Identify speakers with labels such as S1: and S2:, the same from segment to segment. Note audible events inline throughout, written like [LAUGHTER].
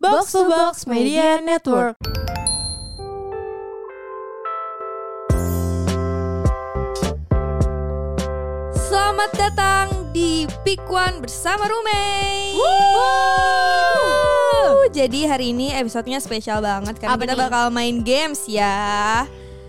S1: Box to Box Media Network.
S2: Selamat datang di Pick One bersama Rumei. Jadi hari ini episodenya spesial banget karena
S1: Apa
S2: kita
S1: nih?
S2: bakal main games ya.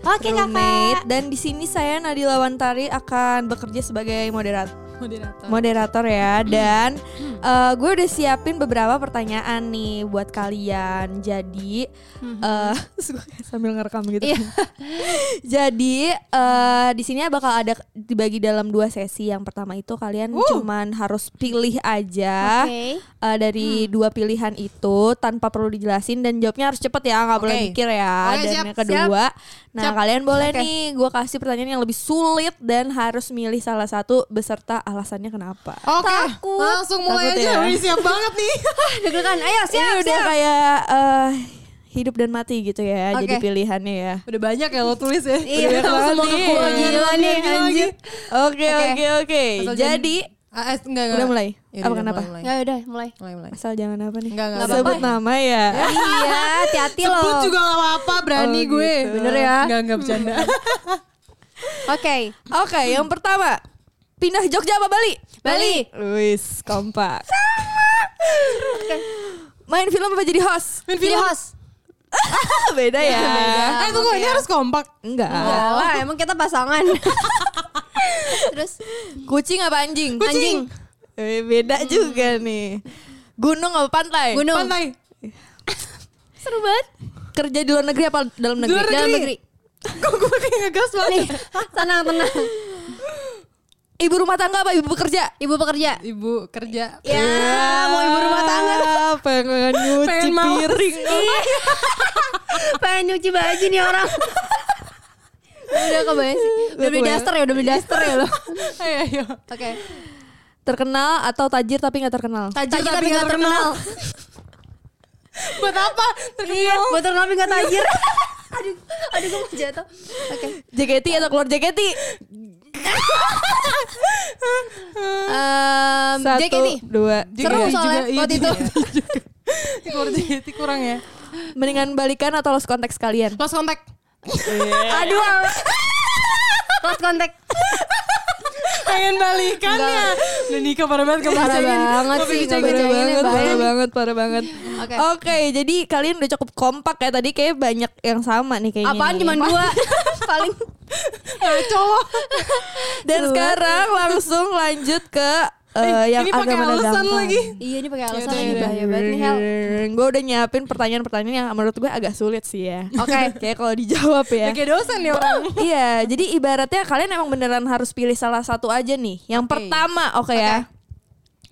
S1: Oke
S2: Roommate. Dan di sini saya Nadila Wantari akan bekerja sebagai moderator.
S1: Moderator.
S2: Moderator ya dan eh, gue udah siapin beberapa pertanyaan nih buat kalian. Jadi
S1: Mhm.
S2: eh, sambil ngerekam gitu.
S1: Iya.
S2: Jadi eh, di sini bakal ada dibagi dalam dua sesi. Yang pertama itu kalian cuman harus pilih aja eh, dari dua pilihan itu tanpa perlu dijelasin dan jawabnya harus cepet ya, nggak boleh
S3: Oke.
S2: mikir ya.
S3: Oke,
S2: dan
S3: siap,
S2: yang kedua, nah
S3: Siap.
S2: kalian boleh
S3: Oke.
S2: nih gue kasih pertanyaan yang lebih sulit dan harus milih salah satu beserta alasannya kenapa.
S3: Oke,
S1: Takut.
S3: langsung mulai
S2: Takut
S3: aja.
S2: ya.
S3: Wih, siap banget
S1: [LAUGHS]
S3: nih.
S1: Deg-degan. Ayo siap,
S2: Ini udah
S1: siap.
S2: kayak eh, hidup dan mati gitu ya.
S3: Oke.
S2: Jadi pilihannya ya.
S3: Udah banyak ya lo tulis ya.
S1: Iya,
S3: Udah banyak
S1: semua
S3: banget
S1: kekurangan. Gila nih, anjir.
S3: Oke.
S2: Oke oke oke.
S3: Asal jangan-
S2: Jadi
S3: Ah, eh, enggak, enggak.
S2: udah mulai.
S3: Yaudah,
S2: Apa
S3: udah,
S2: kenapa?
S3: Mulai,
S1: Ya udah mulai.
S3: mulai. mulai.
S2: Asal jangan apa nih?
S3: Enggak, enggak.
S2: Sebut
S3: apa-apa.
S2: nama ya.
S1: iya, [LAUGHS] hati-hati loh.
S3: Sebut juga gak apa-apa, berani
S2: Oh, gitu.
S3: gue.
S2: Bener ya?
S3: Enggak, enggak bercanda.
S1: Hmm. Oke.
S2: Oke, yang pertama. Pindah Jogja apa Bali?
S1: Bali.
S2: Wis, kompak. Main film apa jadi host?
S3: Main
S1: Jadi
S3: film.
S1: host.
S2: [LAUGHS] Beda ya.
S3: [LAUGHS] Eh, tunggu, ini harus kompak.
S2: Enggak.
S1: Enggak lah, Iya, emang kita [LAUGHS] pasangan. Terus
S2: Kucing apa anjing?
S1: Kucing.
S2: Eh, beda juga nih. Gunung apa pantai?
S1: Gunung.
S3: Pantai.
S1: seru banget.
S2: Kerja di luar negeri apa dalam negeri?
S3: Luar
S1: Dalam
S3: negeri.
S1: negeri.
S3: Kok gue kayak ngegas
S1: Nih,
S3: banget.
S1: tenang, tenang.
S2: Ibu rumah tangga apa ibu pekerja?
S1: Ibu pekerja.
S3: Ibu kerja.
S1: Ya, mau ibu rumah tangga.
S2: Pengen nyuci
S3: Pengen mau. [LAUGHS]
S2: piring.
S1: Pengen nyuci baju nih orang. udah kebayang sih. Udah beli
S2: Kebayang.
S1: daster ya, udah beli daster ya lo.
S3: Ayo, Eh, ayo.
S1: [LAUGHS] Oke.
S2: Terkenal atau tajir tapi nggak terkenal?
S1: Tajir tapi nggak terkenal. [LAUGHS]
S3: Buat apa?
S1: Iya, buat terkenal tapi nggak tajir. aduh, aduh gue mau jatuh. Oke.
S2: JKT atau keluar JKT?
S1: Em, JKT.
S2: dua.
S1: Seru
S3: Juga-
S1: soalnya
S3: juga- Hmm. iya,
S1: waktu itu.
S3: [LAUGHS] juga. Kurang jadi kurang ya.
S2: Mendingan balikan atau lost konteks kalian?
S3: Lost contact. Iya.
S1: Aduh. awas. Lost kontak.
S3: Pengen balikan ya. Udah nikah parah banget
S2: Parah
S3: kebacain.
S2: banget
S3: Gua
S2: sih,
S3: bacain.
S2: parah banget, ya? parah
S1: bahaya.
S2: banget, parah banget.
S1: Oke.
S2: Oke, jadi kalian udah cukup kompak ya tadi kayak banyak yang sama nih kayaknya. ya.
S1: Apaan
S2: nih.
S1: cuma dua? [LAUGHS]
S3: [LAUGHS]
S1: Paling
S3: Ngaco lo.
S2: Dan sekarang langsung lanjut ke eh, yang
S3: Ini pakai
S2: agak mana
S3: alasan
S2: gampang.
S3: lagi.
S1: Iya ini pakai alasan
S3: Yaudah,
S1: lagi
S3: yaudah.
S1: bahaya banget nih Hel.
S2: Gue udah nyiapin pertanyaan-pertanyaan yang menurut gue agak sulit sih ya.
S3: [LAUGHS]
S1: Oke.
S2: kayak kalau dijawab ya.
S3: Udah kayak dosen nih orang.
S2: iya, jadi ibaratnya kalian emang beneran harus pilih salah satu aja nih. Yang
S3: Oke.
S2: pertama, oke ya.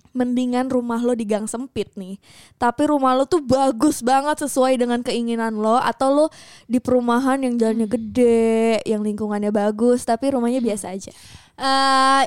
S2: Mendingan rumah lo di gang sempit nih, tapi rumah lo tuh bagus banget sesuai dengan keinginan lo, atau lo di perumahan yang jalannya
S3: Hmm.
S2: gede, yang lingkungannya bagus, tapi rumahnya biasa aja.
S1: Eh,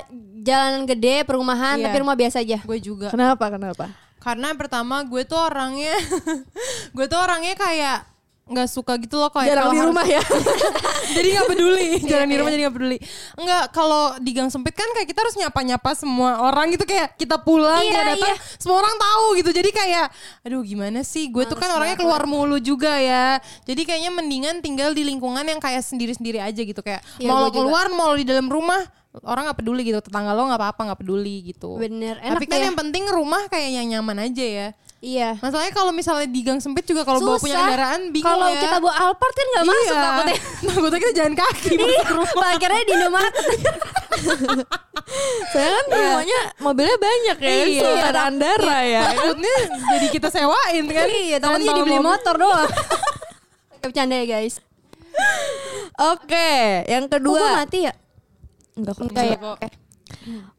S1: jalanan gede, perumahan,
S3: Iya.
S1: tapi rumah biasa aja.
S3: Gue juga.
S2: Kenapa? Kenapa?
S3: Karena pertama gue tuh orangnya [LAUGHS] gue tuh orangnya kayak nggak suka gitu loh kayak kalau
S2: Jarang di
S3: harus-
S2: rumah ya.
S3: [LAUGHS] jadi nggak peduli
S1: Iya,
S3: jarang di rumah jadi nggak peduli nggak kalau di gang sempit kan kayak kita harus nyapa nyapa semua orang gitu kayak kita pulang kita
S1: Iya,
S3: datang semua orang tahu gitu jadi kayak aduh gimana sih gue tuh kan orangnya keluar mulu juga ya jadi kayaknya mendingan tinggal di lingkungan yang kayak sendiri sendiri aja gitu kayak
S1: Iya,
S3: mau lo
S1: gua juga.
S3: keluar mau lo di dalam rumah orang nggak peduli gitu tetangga lo nggak apa apa nggak peduli gitu
S1: Bener, enak
S3: tapi kan
S1: ya.
S3: yang penting rumah kayak yang nyaman aja ya
S1: Iya.
S3: Masalahnya kalau misalnya di gang sempit juga kalau bawa punya kendaraan bingung
S1: Kalau
S3: ya.
S1: kita bawa Alphard kan nggak masuk
S3: Iya. [LAUGHS]
S1: takutnya.
S3: Takutnya kita jalan kaki.
S1: Parkirnya di Indomaret.
S2: Saya kan rumahnya mobilnya banyak ya,
S3: Iya.
S2: Sultan Andara ya.
S3: Takutnya jadi kita sewain kan.
S1: Iya,
S3: Jangan
S1: takutnya
S3: bawa
S1: dibeli
S3: mobil.
S1: motor
S2: [LAUGHS]
S1: doang. Oke, Bercanda ya guys.
S2: Oke, yang
S1: Dua.
S2: kedua.
S1: mati ya?
S2: Enggak kok.
S1: Enggak ya.
S3: Enggak kok.
S1: Oke.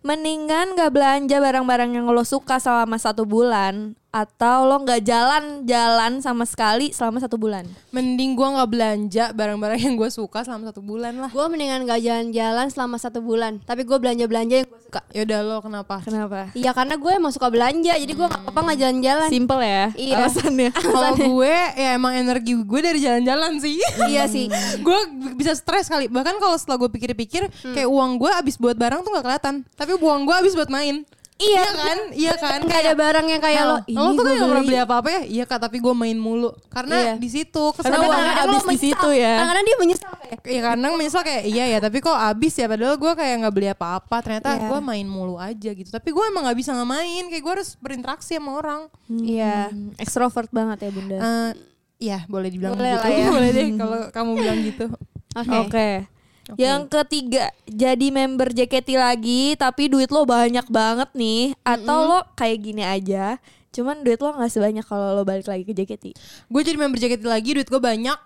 S2: Mendingan gak belanja barang-barang yang lo suka selama satu bulan Atau lo gak jalan-jalan sama sekali selama satu bulan
S3: Mending gua nggak belanja barang-barang yang gue suka selama satu bulan lah.
S1: Gue mendingan gak jalan-jalan selama satu bulan Tapi gue belanja-belanja yang gue suka
S3: Ya udah lo kenapa?
S2: Kenapa?
S1: Iya karena gue emang suka belanja Jadi gue apa gak
S3: Hmm.
S1: jalan-jalan
S2: Simple ya
S1: Iya. [LAUGHS]
S2: alasannya
S3: Kalau gue ya emang energi gue dari jalan-jalan sih. [LAUGHS]
S1: Iya sih
S3: gue bisa stres kali. Bahkan kalau setelah gue pikir-pikir kayak uang gue habis buat barang tuh nggak kelihatan. Tapi uang gue habis buat main. Iya kan? Iya kan?
S1: Nggak ada barang yang kayak Nah, lo.
S3: Lo
S1: ini
S3: tuh kan
S1: gua
S3: gak pernah
S1: beli.
S3: beli apa-apa ya? Iya kak, tapi gue main mulu. Karena
S2: Iya.
S3: di situ kesana
S2: Karena uangnya
S1: kadang-kadang lo
S2: habis di
S1: menyesal.
S2: situ ya.
S1: Kadang-kadang dia menyesal kayak.
S3: Ya kadang menyesal kayak iya ya tapi kok abis ya padahal gue kayak nggak beli apa-apa ternyata
S2: Iya.
S3: gue main mulu aja gitu tapi gue emang nggak bisa nggak main kayak gue harus berinteraksi sama orang
S2: Iya,
S1: Hmm,
S2: ekstrovert banget ya Bunda.
S3: Eh, Iya boleh dibilang
S1: Boleh
S3: gitu
S1: lah ya.
S3: [LAUGHS] boleh deh kalau kamu bilang gitu
S1: Oke.
S2: Oke. Yang ketiga, jadi member JKT lagi tapi duit lo banyak banget nih atau lo kayak gini aja, cuman duit lo nggak sebanyak kalau lo balik lagi ke JKT.
S3: gue jadi member JKT lagi duit gue banyak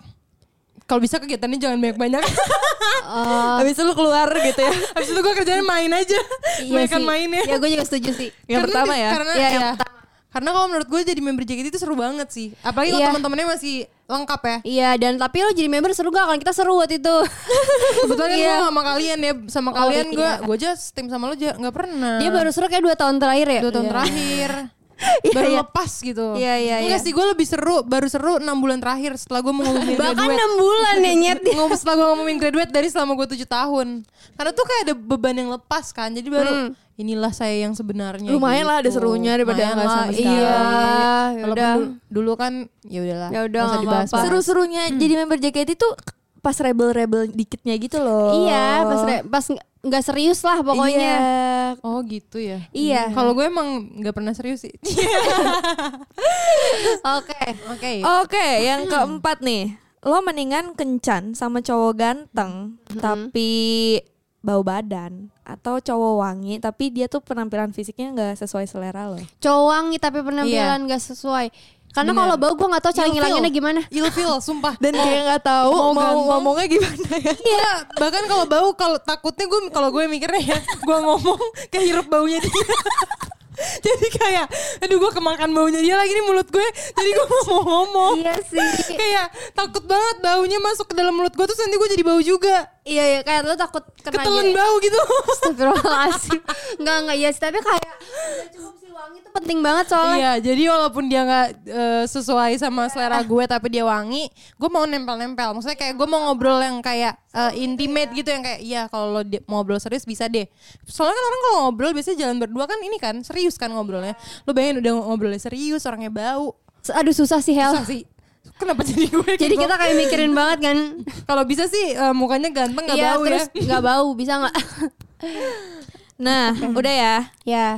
S3: kalau bisa kegiatannya jangan banyak-banyak [LAUGHS]
S1: Oh,
S2: Habis itu lo keluar gitu ya.
S3: habis itu gue kerjanya main aja
S1: iya
S3: iya
S1: sih.
S3: main ya
S1: Ya gue juga setuju sih.
S2: Yang
S3: Karena
S2: pertama
S3: di-
S2: ya.
S3: Karena
S1: Iya,
S3: ya.
S1: yang
S3: Karena kalau menurut gue jadi member JKT itu seru banget sih. Apalagi kalau
S1: Iya.
S3: teman-temannya masih lengkap ya.
S1: Iya dan tapi lo jadi member seru gak? Kan kita seru waktu itu.
S3: Kebetulan kan
S1: Iya.
S3: gue sama kalian ya, sama
S1: Oh,
S3: kalian gue
S1: iya.
S3: gue aja tim sama lo aja nggak pernah.
S1: Dia baru seru kayak dua tahun terakhir ya.
S3: dua tahun
S1: Iya.
S3: terakhir. baru lepas gitu.
S2: Iya, iya,
S3: Enggak
S2: iya.
S3: sih gue lebih seru baru seru 6 bulan terakhir setelah gue mengumumin
S1: Bahkan
S3: graduate.
S1: enam bulan ya nyet.
S3: Ngom- setelah gue ngomongin graduate dari selama gue 7 tahun. Karena tuh kayak ada beban yang lepas kan. Jadi baru inilah saya yang sebenarnya.
S2: Lumayan lah ada
S3: gitu.
S2: serunya daripada
S3: Lumayan
S2: nggak
S3: lah,
S2: sama sekali.
S3: Iya.
S1: ya
S3: Walaupun
S1: udah.
S3: dulu, dulu kan ya udahlah.
S1: [LAUGHS] Ya udah,
S3: nggak usah
S1: nggak
S3: dibahas.
S1: apa-apa.
S3: Seru
S2: Seru-serunya jadi member JKT tuh pas rebel-rebel dikitnya gitu loh.
S1: Iya, pas re- pas nge- nggak serius lah pokoknya.
S2: Iya.
S3: Oh gitu ya.
S1: Iya.
S3: Kalau gue emang nggak pernah serius sih.
S1: Oke.
S3: Oke.
S2: Oke, yang keempat nih. Lo mendingan kencan sama cowok ganteng tapi bau badan atau cowok wangi tapi dia tuh penampilan fisiknya nggak sesuai selera lo.
S1: Cowok wangi tapi penampilan nggak sesuai. Karena
S3: Bener.
S1: kalau bau gue nggak tahu cara
S3: Ilfil.
S1: Oh, ngilanginnya gimana.
S3: Ilfil,
S1: [LAUGHS]
S3: sumpah.
S2: Dan kayak nggak tahu
S3: mau
S2: mau,
S3: ganteng?
S2: ngomongnya gimana ya.
S3: Iya, bahkan kalau bau kalau takutnya gue kalau gue mikirnya ya gue ngomong kehirup baunya dia. [LAUGHS] Jadi kayak aduh gue kemakan baunya dia lagi nih mulut gue. Jadi gue mau mau ngomong.
S1: Iya sih.
S3: Kayak takut banget baunya masuk ke dalam mulut gue terus nanti gue jadi bau juga.
S1: Iya iya kayak lo takut kena
S3: Ketelan bau gitu.
S1: Astagfirullahaladzim Enggak enggak iya sih tapi kayak udah cukup sih wangi itu penting banget soalnya
S3: Iya, jadi walaupun dia nggak eh, sesuai sama selera gue tapi dia wangi, gue mau nempel-nempel. Maksudnya kayak gue mau ngobrol yang kayak eh, intimate
S1: ya.
S3: gitu yang kayak iya kalau lo di- mau ngobrol serius bisa deh. Soalnya kan orang kalau ngobrol biasanya jalan berdua kan ini kan serius kan ngobrolnya. Lo bayangin udah ngobrolnya serius, orangnya bau.
S1: Aduh susah sih Hel
S3: Susah sih. Kenapa jadi gue?
S1: Ya. Jadi
S3: gitu?
S1: kita kayak mikirin banget kan
S3: kalau bisa sih eh, mukanya ganteng nggak
S1: Iya
S3: bau
S1: terus
S3: ya.
S1: nggak bau bisa
S3: [LAUGHS]
S1: nggak
S2: Nah, udah ya.
S1: Ya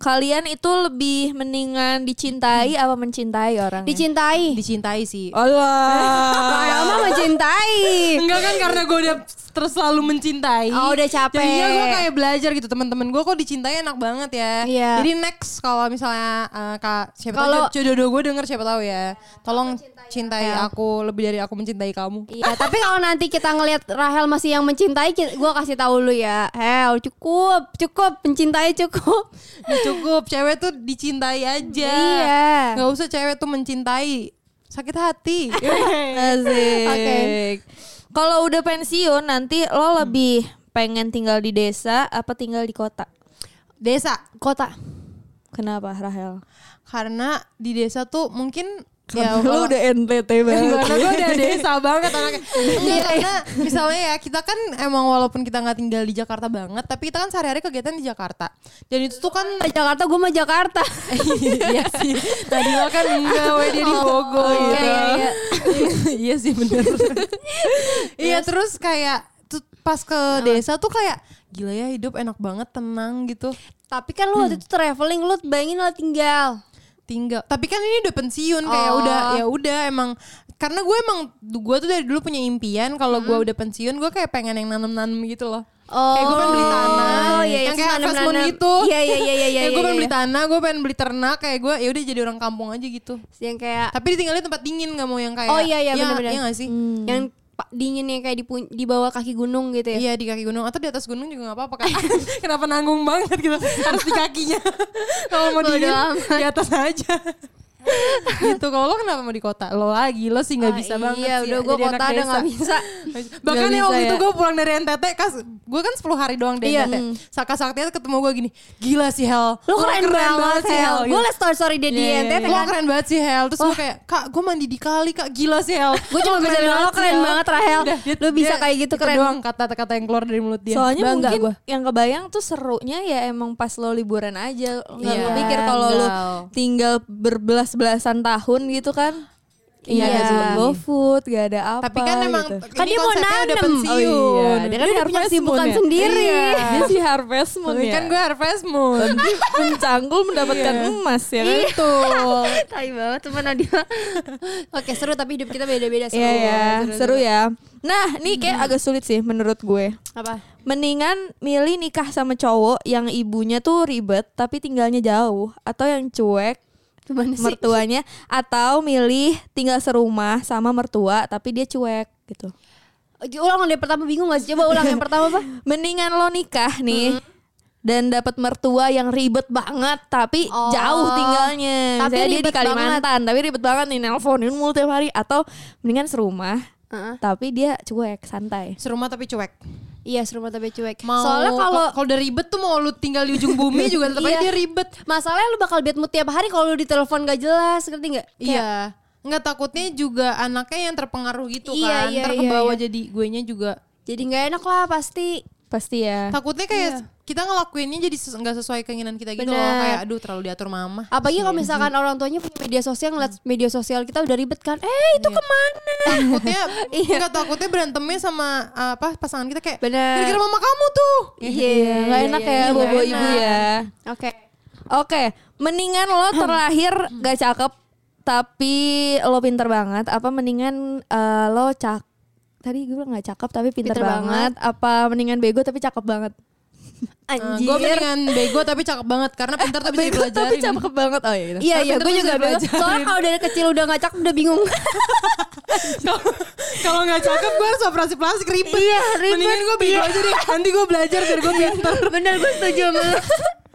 S2: Kalian itu lebih mendingan dicintai apa mencintai orang?
S1: Dicintai
S3: Dicintai sih. [LAUGHS] Ah.
S2: Allah.
S1: Lama mencintai
S3: Enggak kan karena gue udah terus selalu mencintai.
S1: Oh, udah capek.
S3: Jadinya gue Iya. kayak belajar gitu teman-teman gue kok dicintai enak banget ya.
S1: Iya.
S3: Jadi next kalau misalnya eh, kak siapa
S1: Kalau-
S3: tahu jodoh gue denger siapa tahu ya. Tolong cintai aku lebih dari aku mencintai kamu.
S1: Iya tapi kalau nanti kita ngelihat Rahel masih yang mencintai ki- Gue kasih tahu lu ya Hel cukup cukup mencintai cukup
S3: Udah cukup cewek tuh dicintai aja.
S1: Iya.
S3: Gak usah cewek tuh mencintai sakit
S1: [LAUGHS]
S3: hati. Iya.
S2: Asik.
S1: Oke.
S2: Kalau udah pensiun nanti lo lebih pengen tinggal di desa apa tinggal di kota?
S3: Desa
S1: Kota
S2: Kenapa Rahel?
S3: karena di desa tuh mungkin ya,
S2: Karena lo
S3: kalau-
S2: udah [LAUGHS] NTT banget.
S3: Karena gue udah desa banget anaknya
S1: Iya.
S3: Enggak, karena misalnya ya kita kan emang walaupun kita nggak tinggal di Jakarta banget Tapi kita kan sehari-hari kegiatan di Jakarta Dan itu tuh kan
S1: Jakarta gue mau Jakarta
S3: [LAUGHS] Iya sih Tadi lo kan enggak we dia di Bogor
S1: iya,
S3: gitu
S1: iya, iya.
S3: [LAUGHS] Iya sih bener Iya terus kayak tuh pas ke desa tuh kayak Gila ya hidup enak banget tenang gitu
S1: Tapi kan lu waktu
S3: Hmm.
S1: itu traveling lu bayangin lo tinggal
S3: tinggal tapi kan ini udah pensiun kayak
S1: Oh.
S3: udah ya udah emang karena gue emang gue tuh dari dulu punya impian kalau gue udah pensiun gue kayak pengen yang nanem-nanem gitu loh
S1: Oh,
S3: kayak gue pengen beli tanah
S1: Oh, iya, iya,
S3: yang kayak
S1: terus
S3: harvest moon
S1: nanam-nanam.
S3: gitu
S1: Iya, iya,
S3: [LAUGHS]
S1: iya, iya,
S3: Kayak
S1: iya,
S3: gue pengen
S1: iya.
S3: beli tanah gue pengen beli ternak kayak gue ya udah jadi orang kampung aja gitu
S1: yang kayak
S3: tapi ditinggalnya tempat dingin nggak mau yang kayak
S1: Oh iya iya benar-benar.
S3: iya nggak sih
S1: Hmm. Yang pa- dingin yang kayak di pun- di bawah kaki gunung gitu ya.
S3: Iya di kaki gunung atau di atas gunung juga nggak apa-apa kan. [LAUGHS] Kenapa nanggung banget gitu harus di kakinya. [LAUGHS] Kalau mau
S1: Bodo
S3: dingin
S1: amat.
S3: di atas aja. [LAUGHS] gitu kalau lo kenapa mau di kota lo lagi lo sih nggak
S1: Ah,
S3: bisa banget
S1: iya,
S3: sih
S1: udah
S3: ya,
S1: gua
S3: jadi
S1: kota
S3: anak
S1: udah
S3: desa.
S1: nggak bisa.
S3: [LAUGHS] bahkan ya
S2: Nggak
S3: waktu
S2: bisa
S3: itu
S2: ya.
S3: gue pulang dari NTT kas gue kan 10 hari doang dari
S1: Iya.
S3: NTT Saka Saktia ketemu gue gini gila sih Hel
S1: Lu keren, banget sih Hel.
S3: gitu.
S1: Gue liat story story dia di
S3: Iya,
S1: NTT
S3: Lo
S1: kan.
S3: keren banget sih Hel Terus gue kayak Kak gue mandi di kali kak Gila sih Hel
S1: Gue cuma
S3: Lo
S1: bisa bilang lo
S3: sih,
S1: keren
S3: Hel."
S1: banget Rahel.
S3: Udah, dia-
S1: Lu bisa
S3: dia-
S1: kayak gitu
S3: itu
S1: keren.
S3: doang kata-kata yang keluar dari mulut dia
S2: Soalnya
S3: Bangga
S2: mungkin
S3: gua.
S2: yang kebayang tuh serunya ya emang pas lo liburan aja nggak
S3: Iya,
S2: mikir kalau lo
S3: enggak.
S2: tinggal berbelas-belasan tahun gitu kan.
S1: Iya,
S2: Iya,
S1: sih.
S2: gak go food, gak ada apa.
S3: Tapi kan emang
S2: gitu.
S1: Kan
S3: ini
S1: dia mau
S3: konsepnya udah
S1: nanem.
S3: pensiun.
S2: Oh iya,
S1: Dia
S2: dia
S1: kan
S2: kan
S1: udah punya
S2: harvest
S1: kesibukan
S2: moon ya.
S1: sendiri.
S2: dia si Harvest Moon ya.
S3: Kan gue harvest moon
S1: Iya.
S2: [LAUGHS] mencanggul mendapatkan emas ya kan.
S3: Betul
S1: [LAUGHS] Tai banget teman
S3: [LAUGHS]
S1: Nadia. Oke seru tapi hidup kita beda-beda seru.
S2: Iya ya, seru ya. Nah, ini kayak agak sulit sih menurut gue.
S1: Apa?
S2: Mendingan milih nikah sama cowok yang ibunya tuh ribet tapi tinggalnya jauh atau yang cuek
S1: Gimana sih?
S2: mertuanya atau milih tinggal serumah sama mertua tapi dia cuek gitu.
S1: Ulang yang pertama bingung gak sih? Coba ulang
S3: [LAUGHS]
S1: yang pertama apa?
S2: Mendingan lo nikah nih
S1: Hmm.
S2: dan dapat mertua yang ribet banget tapi
S1: Oh.
S2: jauh tinggalnya.
S1: Tapi
S2: Misalnya dia
S1: ribet
S2: di Kalimantan tapi ribet banget nih nelponin mulu tiap hari atau mendingan serumah
S1: Heeh.
S2: tapi dia cuek santai.
S3: Serumah tapi cuek
S1: Iya seru banget tapi cuek.
S3: mau,
S1: Soalnya kalau
S3: kalau udah ribet tuh mau lu tinggal di ujung bumi juga tetap aja
S1: Iya.
S3: dia ribet
S1: masalahnya lu bakal bad mood tiap hari kalau lu ditelepon gak jelas, ngerti nggak? Kayak,
S3: Iya. Nggak takutnya juga anaknya yang terpengaruh gitu
S1: Iya,
S3: kan.
S1: iya,
S3: Ntar
S1: iya,
S3: kebawa
S1: iya.
S3: jadi guenya juga.
S1: Jadi nggak enak lah pasti.
S2: Pasti ya.
S3: Takutnya kayak kita ngelakuinnya jadi ses- nggak sesuai keinginan kita gitu loh.
S1: Bener.
S3: Kayak aduh terlalu diatur mama.
S1: Apalagi kalau misalkan
S3: iya.
S1: orang tuanya punya media sosial ngeliat media sosial kita udah ribet kan? Eh itu
S3: Iya. [LAUGHS]
S1: kemana? [LAUGHS]
S3: Takutnya
S1: Iya.
S3: nggak takutnya berantemnya sama ah, apa pasangan kita kayak
S1: Bener.
S3: gara-gara mama kamu tuh.
S1: Iya,
S2: Nggak enak
S1: iya,
S2: ya
S1: iya,
S2: bobo
S1: nggak
S2: ibu
S1: enak.
S2: ya.
S1: Oke.
S2: Oke, mendingan lo terlahir gak cakep tapi lo pinter banget. Apa mendingan eh, lo cak tadi gue bilang gak cakep tapi pinter,
S1: Pinter
S2: banget. Apa mendingan bego tapi cakep [LAUGHS] banget?
S1: Anjir.
S3: gue Ah, mendingan bego tapi cakep banget karena pintar tapi Nah, bisa
S2: Bego tapi
S3: dipelajarin.
S2: cakep banget. Oh iya. gitu.
S1: Iya iya,
S3: Tapi
S1: gue
S3: terus
S1: juga
S3: udah
S1: bilang.
S3: belajarin.
S1: Soalnya kalau dari kecil udah nggak cakep udah
S3: [LAUGHS]
S1: bingung.
S3: Kalau- [LAUGHS] Kalau nggak cakep gue harus operasi plastik ribet.
S1: Iya, ribet. Iya.
S3: Mendingan gue bego aja deh. Nanti gue belajar
S1: [LAUGHS]
S3: biar gue pintar.
S1: Bener gue setuju sama lu.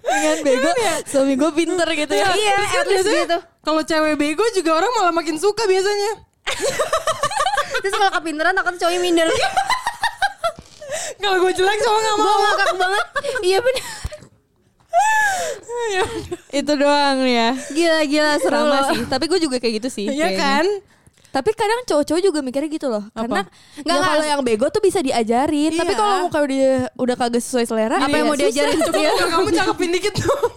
S2: Mendingan bego suami gue pinter gitu ya.
S1: Iya,
S3: Terus kan
S1: at least
S3: biasanya
S1: gitu.
S3: Kalau cewek bego juga orang malah makin suka biasanya.
S1: Terus kalau kepinteran takut cowoknya minder.
S3: Kalau gue jelek cowok nggak
S1: Gue
S3: mau.
S1: ngakak banget. Iya bener.
S3: [LAUGHS] Ya
S2: Itu doang ya.
S1: Gila gila seru
S2: Sama
S1: loh.
S2: sih. Tapi gue juga kayak gitu sih.
S3: Iya
S2: kayaknya.
S3: kan?
S2: Tapi kadang cowok-cowok juga mikirnya gitu loh. Karena ya
S1: Nggak, nggak.
S2: kalau yang bego tuh bisa diajarin. Tapi
S3: Iya.
S2: kalau muka udah udah kagak sesuai selera,
S1: Apa yang mau diajarin?
S3: Iya. Kamu cakepin dikit dong.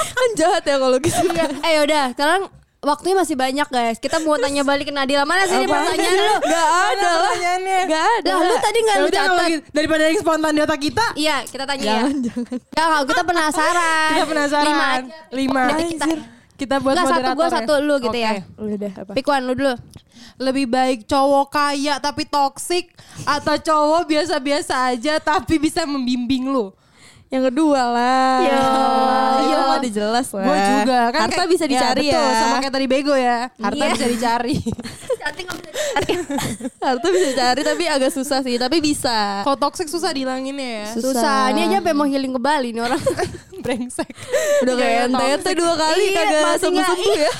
S2: kan jahat ya kalau gitu.
S1: Iya. Eh yaudah, sekarang waktunya masih banyak guys. Kita mau tanya balik ke Nadila mana sih ini
S2: Apa?
S1: pertanyaan lu?
S2: Gak ada
S3: Mana
S2: lah.
S3: pertanyaannya?
S2: Gak Eh, ada.
S1: Lah lu tadi nggak lu
S3: Yaudah, kalau
S1: catat?
S3: gitu. daripada yang spontan di otak kita.
S1: Iya, kita tanya
S2: Jangan,
S1: ya. Jangan, kita penasaran.
S3: Kita
S1: Lima
S3: penasaran.
S1: aja.
S3: Lima.
S1: Dari kita.
S3: Kita buat
S1: Nggak, satu
S3: moderator.
S1: gua, satu lu gitu ya.
S2: Udah apa?
S1: Pick one lu dulu.
S3: Lebih baik cowok kaya tapi toksik atau cowok biasa-biasa aja tapi bisa membimbing lu.
S2: Yang kedua lah.
S1: Ya.
S2: Iya,
S1: Ya.
S2: udah jelas lah.
S3: Gue juga kan
S2: Harta
S3: kayak-
S2: bisa dicari ya.
S3: betul, sama kayak tadi bego ya. Harta
S1: Iya.
S3: bisa dicari.
S1: Cantik nggak bisa dicari.
S2: Harta bisa dicari tapi agak susah sih, tapi bisa.
S3: Kalau toksik susah dihilanginnya ya.
S2: Susah.
S1: Susah. Ini aja sampai mau healing ke Bali nih orang.
S3: [LAUGHS] Brengsek.
S2: [LAUGHS] Udah
S3: Iya,
S2: kayak NTT
S3: toxic.
S2: dua kali
S1: Iya,
S2: kagak
S1: masih nggak-
S2: sembuh-sembuh
S1: [LAUGHS]
S2: ya.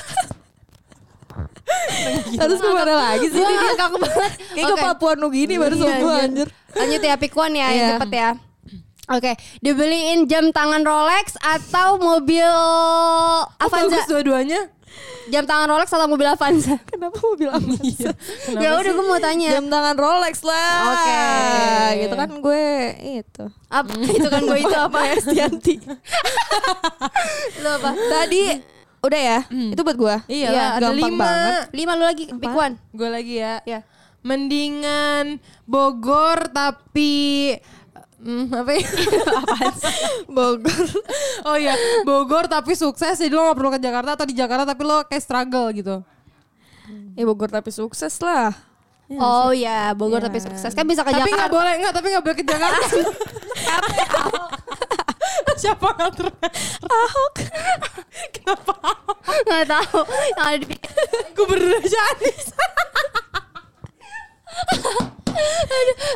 S2: Harus kemana lagi sih?
S1: Gue ngakak banget.
S2: Kayak ke
S1: Oke.
S2: Papua Nugini baru
S1: Iya,
S2: sembuh
S1: iya.
S2: anjir.
S1: Lanjut ya pick one ya yang
S2: Iya.
S1: cepet ya. Oke, dibeliin jam tangan Rolex atau mobil Avanza?
S3: Bagus dua-duanya.
S1: Jam tangan Rolex atau mobil Avanza?
S2: Kenapa mobil
S1: Iya.
S2: Avanza?
S3: [LAUGHS]
S1: ya udah gue mau tanya.
S2: Jam tangan Rolex lah.
S1: Oke.
S2: Gitu kan gue itu.
S1: Apa itu kan gue itu apa ya?
S2: Estianti.
S1: Lu apa? ya,
S2: Tadi udah ya. Itu buat gue.
S3: Iya, lah, ada
S2: gampang
S3: lima.
S2: banget.
S1: Lima lu lagi pick one.
S3: Gue lagi ya.
S1: Ya.
S3: Mendingan Bogor tapi Hmm, apa ya? Apaan sih?
S2: Bogor.
S3: Oh iya, Bogor tapi sukses jadi lo gak perlu ke Jakarta atau di Jakarta tapi lo kayak struggle gitu.
S2: Ya Bogor tapi sukses
S1: [LAUGHS]
S2: lah.
S1: Oh ya, Bogor tapi sukses kan bisa
S3: [LAUGHS]
S1: ke
S3: tapi nggak
S1: Jakarta.
S3: boleh nggak tapi nggak boleh ke
S1: [LAUGHS]
S3: Jakarta. Siapa ngatur? Ahok. Kenapa? Ahok?
S1: Nggak tahu. Yang ada di
S3: Gubernur aja Anies.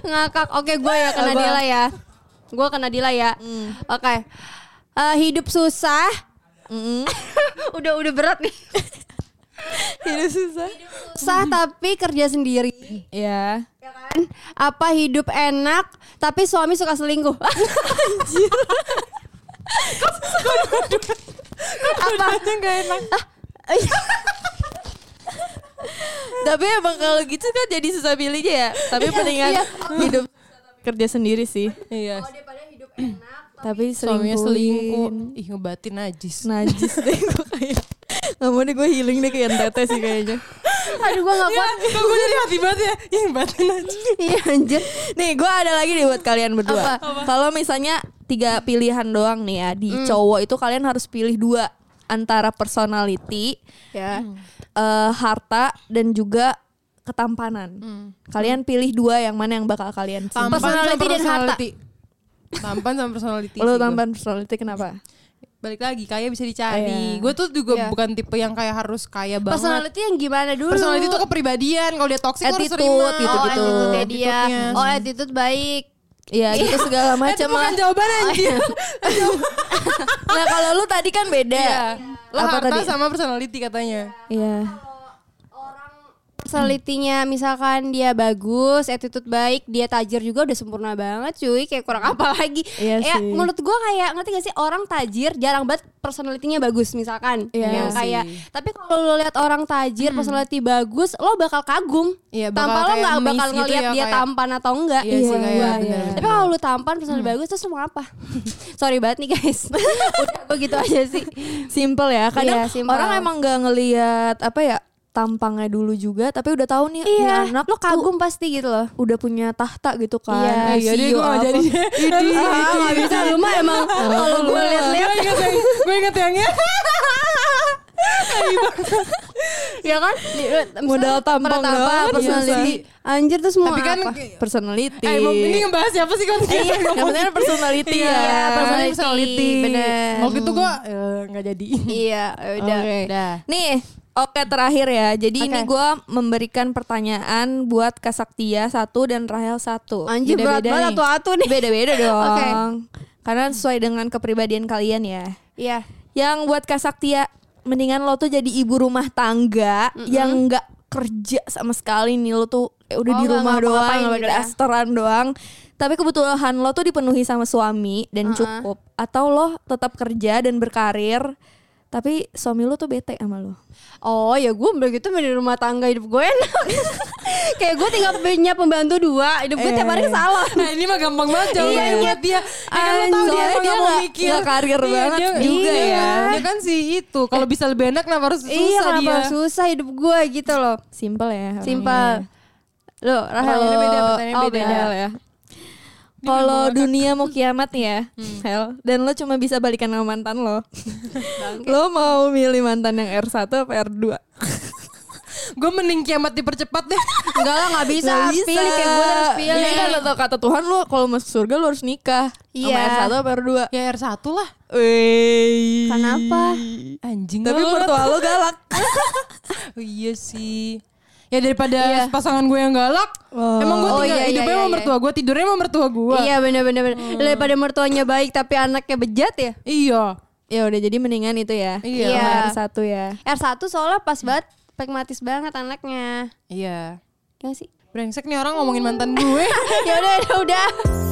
S1: ngakak. Oke, gue ya kena Dila ya. Gue kena Dila ya.
S2: Hmm.
S1: Oke. [LAUGHS] Eh, hidup susah. udah udah berat nih.
S2: Hidup susah.
S1: Sah tapi kerja sendiri.
S2: Ya.
S1: Ya kan? Apa hidup enak tapi suami suka selingkuh? [LAUGHS]
S3: Apa? Gak enak.
S2: Ah, iya. Tapi emang kalau gitu kan jadi susah pilihnya ya. Tapi mendingan hidup kerja sendiri sih.
S3: Iya.
S1: Daripada hidup enak.
S3: [COUGHS]
S2: Tapi
S3: Suaminya
S2: selingkuh.
S3: selingkuh. Ih ngebatin najis.
S2: Najis
S3: [LAUGHS]
S2: deh gue kayak. Gak mau deh gue healing deh kayak NTT sih kayaknya.
S1: Aduh gue
S2: Iya,
S1: gak kuat.
S3: Kok gue jadi hati banget ya? Ih ngebatin najis.
S2: [LAUGHS]
S1: Iya anjir.
S2: Nih gue ada lagi nih buat kalian berdua. Kalau misalnya tiga pilihan doang nih ya di
S3: Hmm.
S2: cowok itu kalian harus pilih dua antara personality,
S1: Ya.
S3: Hmm.
S2: eh, harta dan juga ketampanan. Kalian pilih dua yang mana yang bakal kalian pilih?
S3: Hmm. Tampan sama
S1: Personality dan harta.
S3: personality. Tampan sama personality. sih
S2: Lo
S3: gua.
S2: tambahan personality kenapa?
S3: Balik lagi kaya bisa dicari.
S2: Iya.
S3: Gue tuh juga
S1: Iya.
S3: bukan tipe yang kayak harus kaya banget.
S1: Personality yang gimana dulu?
S3: Personality itu kepribadian. Kalau dia toxic harus
S2: Attitude,
S3: terima.
S2: gitu-gitu.
S1: Oh, attitude-nya dia.
S3: Attitude-nya.
S1: Oh, attitude baik.
S2: Ya gitu
S3: [LAUGHS] Eh,
S2: segala
S3: itu
S2: macam
S3: bukan
S2: lah.
S3: jawaban anjir.
S2: Nah kalau lu tadi kan beda.
S3: Lah Iya.
S2: Apa
S3: harta
S2: tadi?
S3: sama personality katanya.
S2: Iya.
S1: Personality-nya misalkan dia bagus, attitude baik, dia tajir juga udah sempurna banget cuy, kayak kurang apa [LAUGHS] lagi.
S2: Iya
S1: ya,
S2: sih.
S1: menurut gua kayak ngerti gak sih orang tajir jarang banget personality-nya bagus misalkan.
S2: Iya
S1: Yang
S3: sih. Hmm.
S1: kayak tapi kalau lo lihat orang tajir personality bagus, lo bakal kagum.
S3: Iya, bakal
S1: Tanpa lo
S3: kayak
S1: nggak bakal
S3: miss gitu
S1: ngelihat
S3: ya,
S1: dia
S3: kayak-
S1: tampan atau enggak.
S3: Iya sih, kayak Hmm.
S2: iya,
S3: bener,
S2: iya.
S3: bener.
S1: Tapi kalau lu tampan personal bagus terus mau apa? [LAUGHS] Sorry banget nih
S3: [LAUGHS]
S1: guys. Udah gue gitu aja sih.
S2: Simple ya. Kadang
S1: Iya, simple.
S2: orang emang gak ngelihat apa ya tampangnya dulu juga, tapi udah tahu nih ini
S1: Iya,
S2: anak
S1: lo kagum pasti gitu loh.
S2: udah punya tahta gitu
S3: Eh,
S2: kan.
S1: Iya.
S3: iya deh
S2: CEO
S3: gue gak
S2: apa. [LAUGHS]
S3: jadi [LAUGHS] Jadi
S1: Ah, nggak bisa lu mah emang [LAUGHS] kalau gue lihat-lihat
S3: Gue inget yang Gue inget yang ya
S1: ya kan
S3: eh,
S2: Modal tampang Iya,
S1: Modal iya,
S2: doang,
S1: personality.
S2: [LAUGHS]
S1: Anjir terus mau
S3: Tapi kan
S1: apa?
S2: Personality.
S3: [LAUGHS] Eh mau- ini ngebahas siapa sih kan
S2: Iya,
S3: [LAUGHS]
S2: yang benar [LAUGHS] personality ya.
S1: Iya, personality. Bener.
S3: Bener Waktu itu gue eh, Gak
S2: [LAUGHS]
S3: jadi
S1: Iya,
S3: Oh.
S1: udah.
S2: Oke.
S1: Udah.
S2: Nih, oke terakhir ya. Jadi ini
S1: Oke.
S2: gue memberikan pertanyaan buat Kasaktia satu dan Rahel satu.
S1: Anjir berat
S2: Beda-beda
S1: banget
S2: nih.
S1: atu-atu nih.
S2: Beda-beda dong.
S1: [LAUGHS] Oke.
S2: Karena sesuai dengan kepribadian kalian ya.
S1: Iya.
S2: Yang buat Kasaktia, mendingan lo tuh jadi ibu rumah tangga yang nggak kerja sama sekali nih lo tuh eh, udah
S1: Oh,
S2: di
S1: nggak
S2: rumah
S1: ngapa-ngapain
S2: doang, udah
S1: gitu ya.
S2: restoran doang. Tapi kebutuhan lo tuh dipenuhi sama suami dan cukup. Atau lo tetap kerja dan berkarir, tapi suami lo tuh bete sama lo.
S1: Oh ya gue begitu dari rumah tangga hidup gue enak. [LAUGHS]
S2: [LAUGHS]
S1: Kayak gue tinggal punya pembantu dua, hidup gue tiap hari
S2: Iya.
S1: salah.
S3: Nah ini mah gampang banget jawabannya
S1: Iya.
S3: buat dia Ya kan lo tau
S2: Anjay,
S3: dia emang
S2: dia
S3: gak mau
S2: nggak-
S3: mikir
S2: nggak karir banget
S3: dia-
S2: juga
S3: iya.
S2: ya. Eh.
S3: Dia kan si itu Kalau bisa lebih enak Kenapa harus susah
S1: iya, kenapa
S3: dia Oh,
S1: susah hidup gue gitu loh.
S2: Simple ya. orangnya.
S1: Simpel.
S3: iya.
S1: Lo, Rahel.
S3: Pertanyaannya beda, pertanyaannya
S1: oh,
S3: beda.
S1: beda.
S2: Hel ya. Kalau dunia mau kiamat nih ya,
S1: Hmm.
S2: Hel, dan lo cuma bisa balikan sama mantan lo. lo mau milih mantan yang R1 apa R2?
S3: Gue mending kiamat dipercepat
S2: [LAUGHS]
S3: deh
S1: Enggak lah, nggak bisa. Pilih kayak gue harus pilih.
S2: Ini kan kata, kata Tuhan lo kalau masuk surga lo harus nikah.
S1: Iya.
S2: Sama R1 apa R2?
S3: Ya R1 lah
S2: Wih.
S1: Kenapa?
S3: Anjing
S2: Tapi
S3: lu.
S2: mertua lo
S1: [LAUGHS]
S2: galak.
S3: [LAUGHS] Oh, iya sih. Ya daripada pasangan gue yang galak, emang gue
S1: Iya. Oh,
S3: tinggal
S1: iya,
S3: hidupnya
S1: iya,
S3: sama
S1: iya.
S3: mertua gue, tidurnya sama mertua gue.
S1: Iya bener-bener
S2: Hmm.
S1: Daripada mertuanya baik tapi anaknya bejat ya
S3: Iya.
S2: ya udah jadi mendingan itu ya.
S3: Iya.
S2: Sama
S1: Iya.
S2: R1 ya.
S1: R1 soalnya pas banget Pragmatis banget anaknya
S3: Iya.
S1: Gak sih?
S3: [LAUGHS]
S1: [LAUGHS]
S3: Brengsek nih orang ngomongin mantan gue.
S1: ya udah udah udah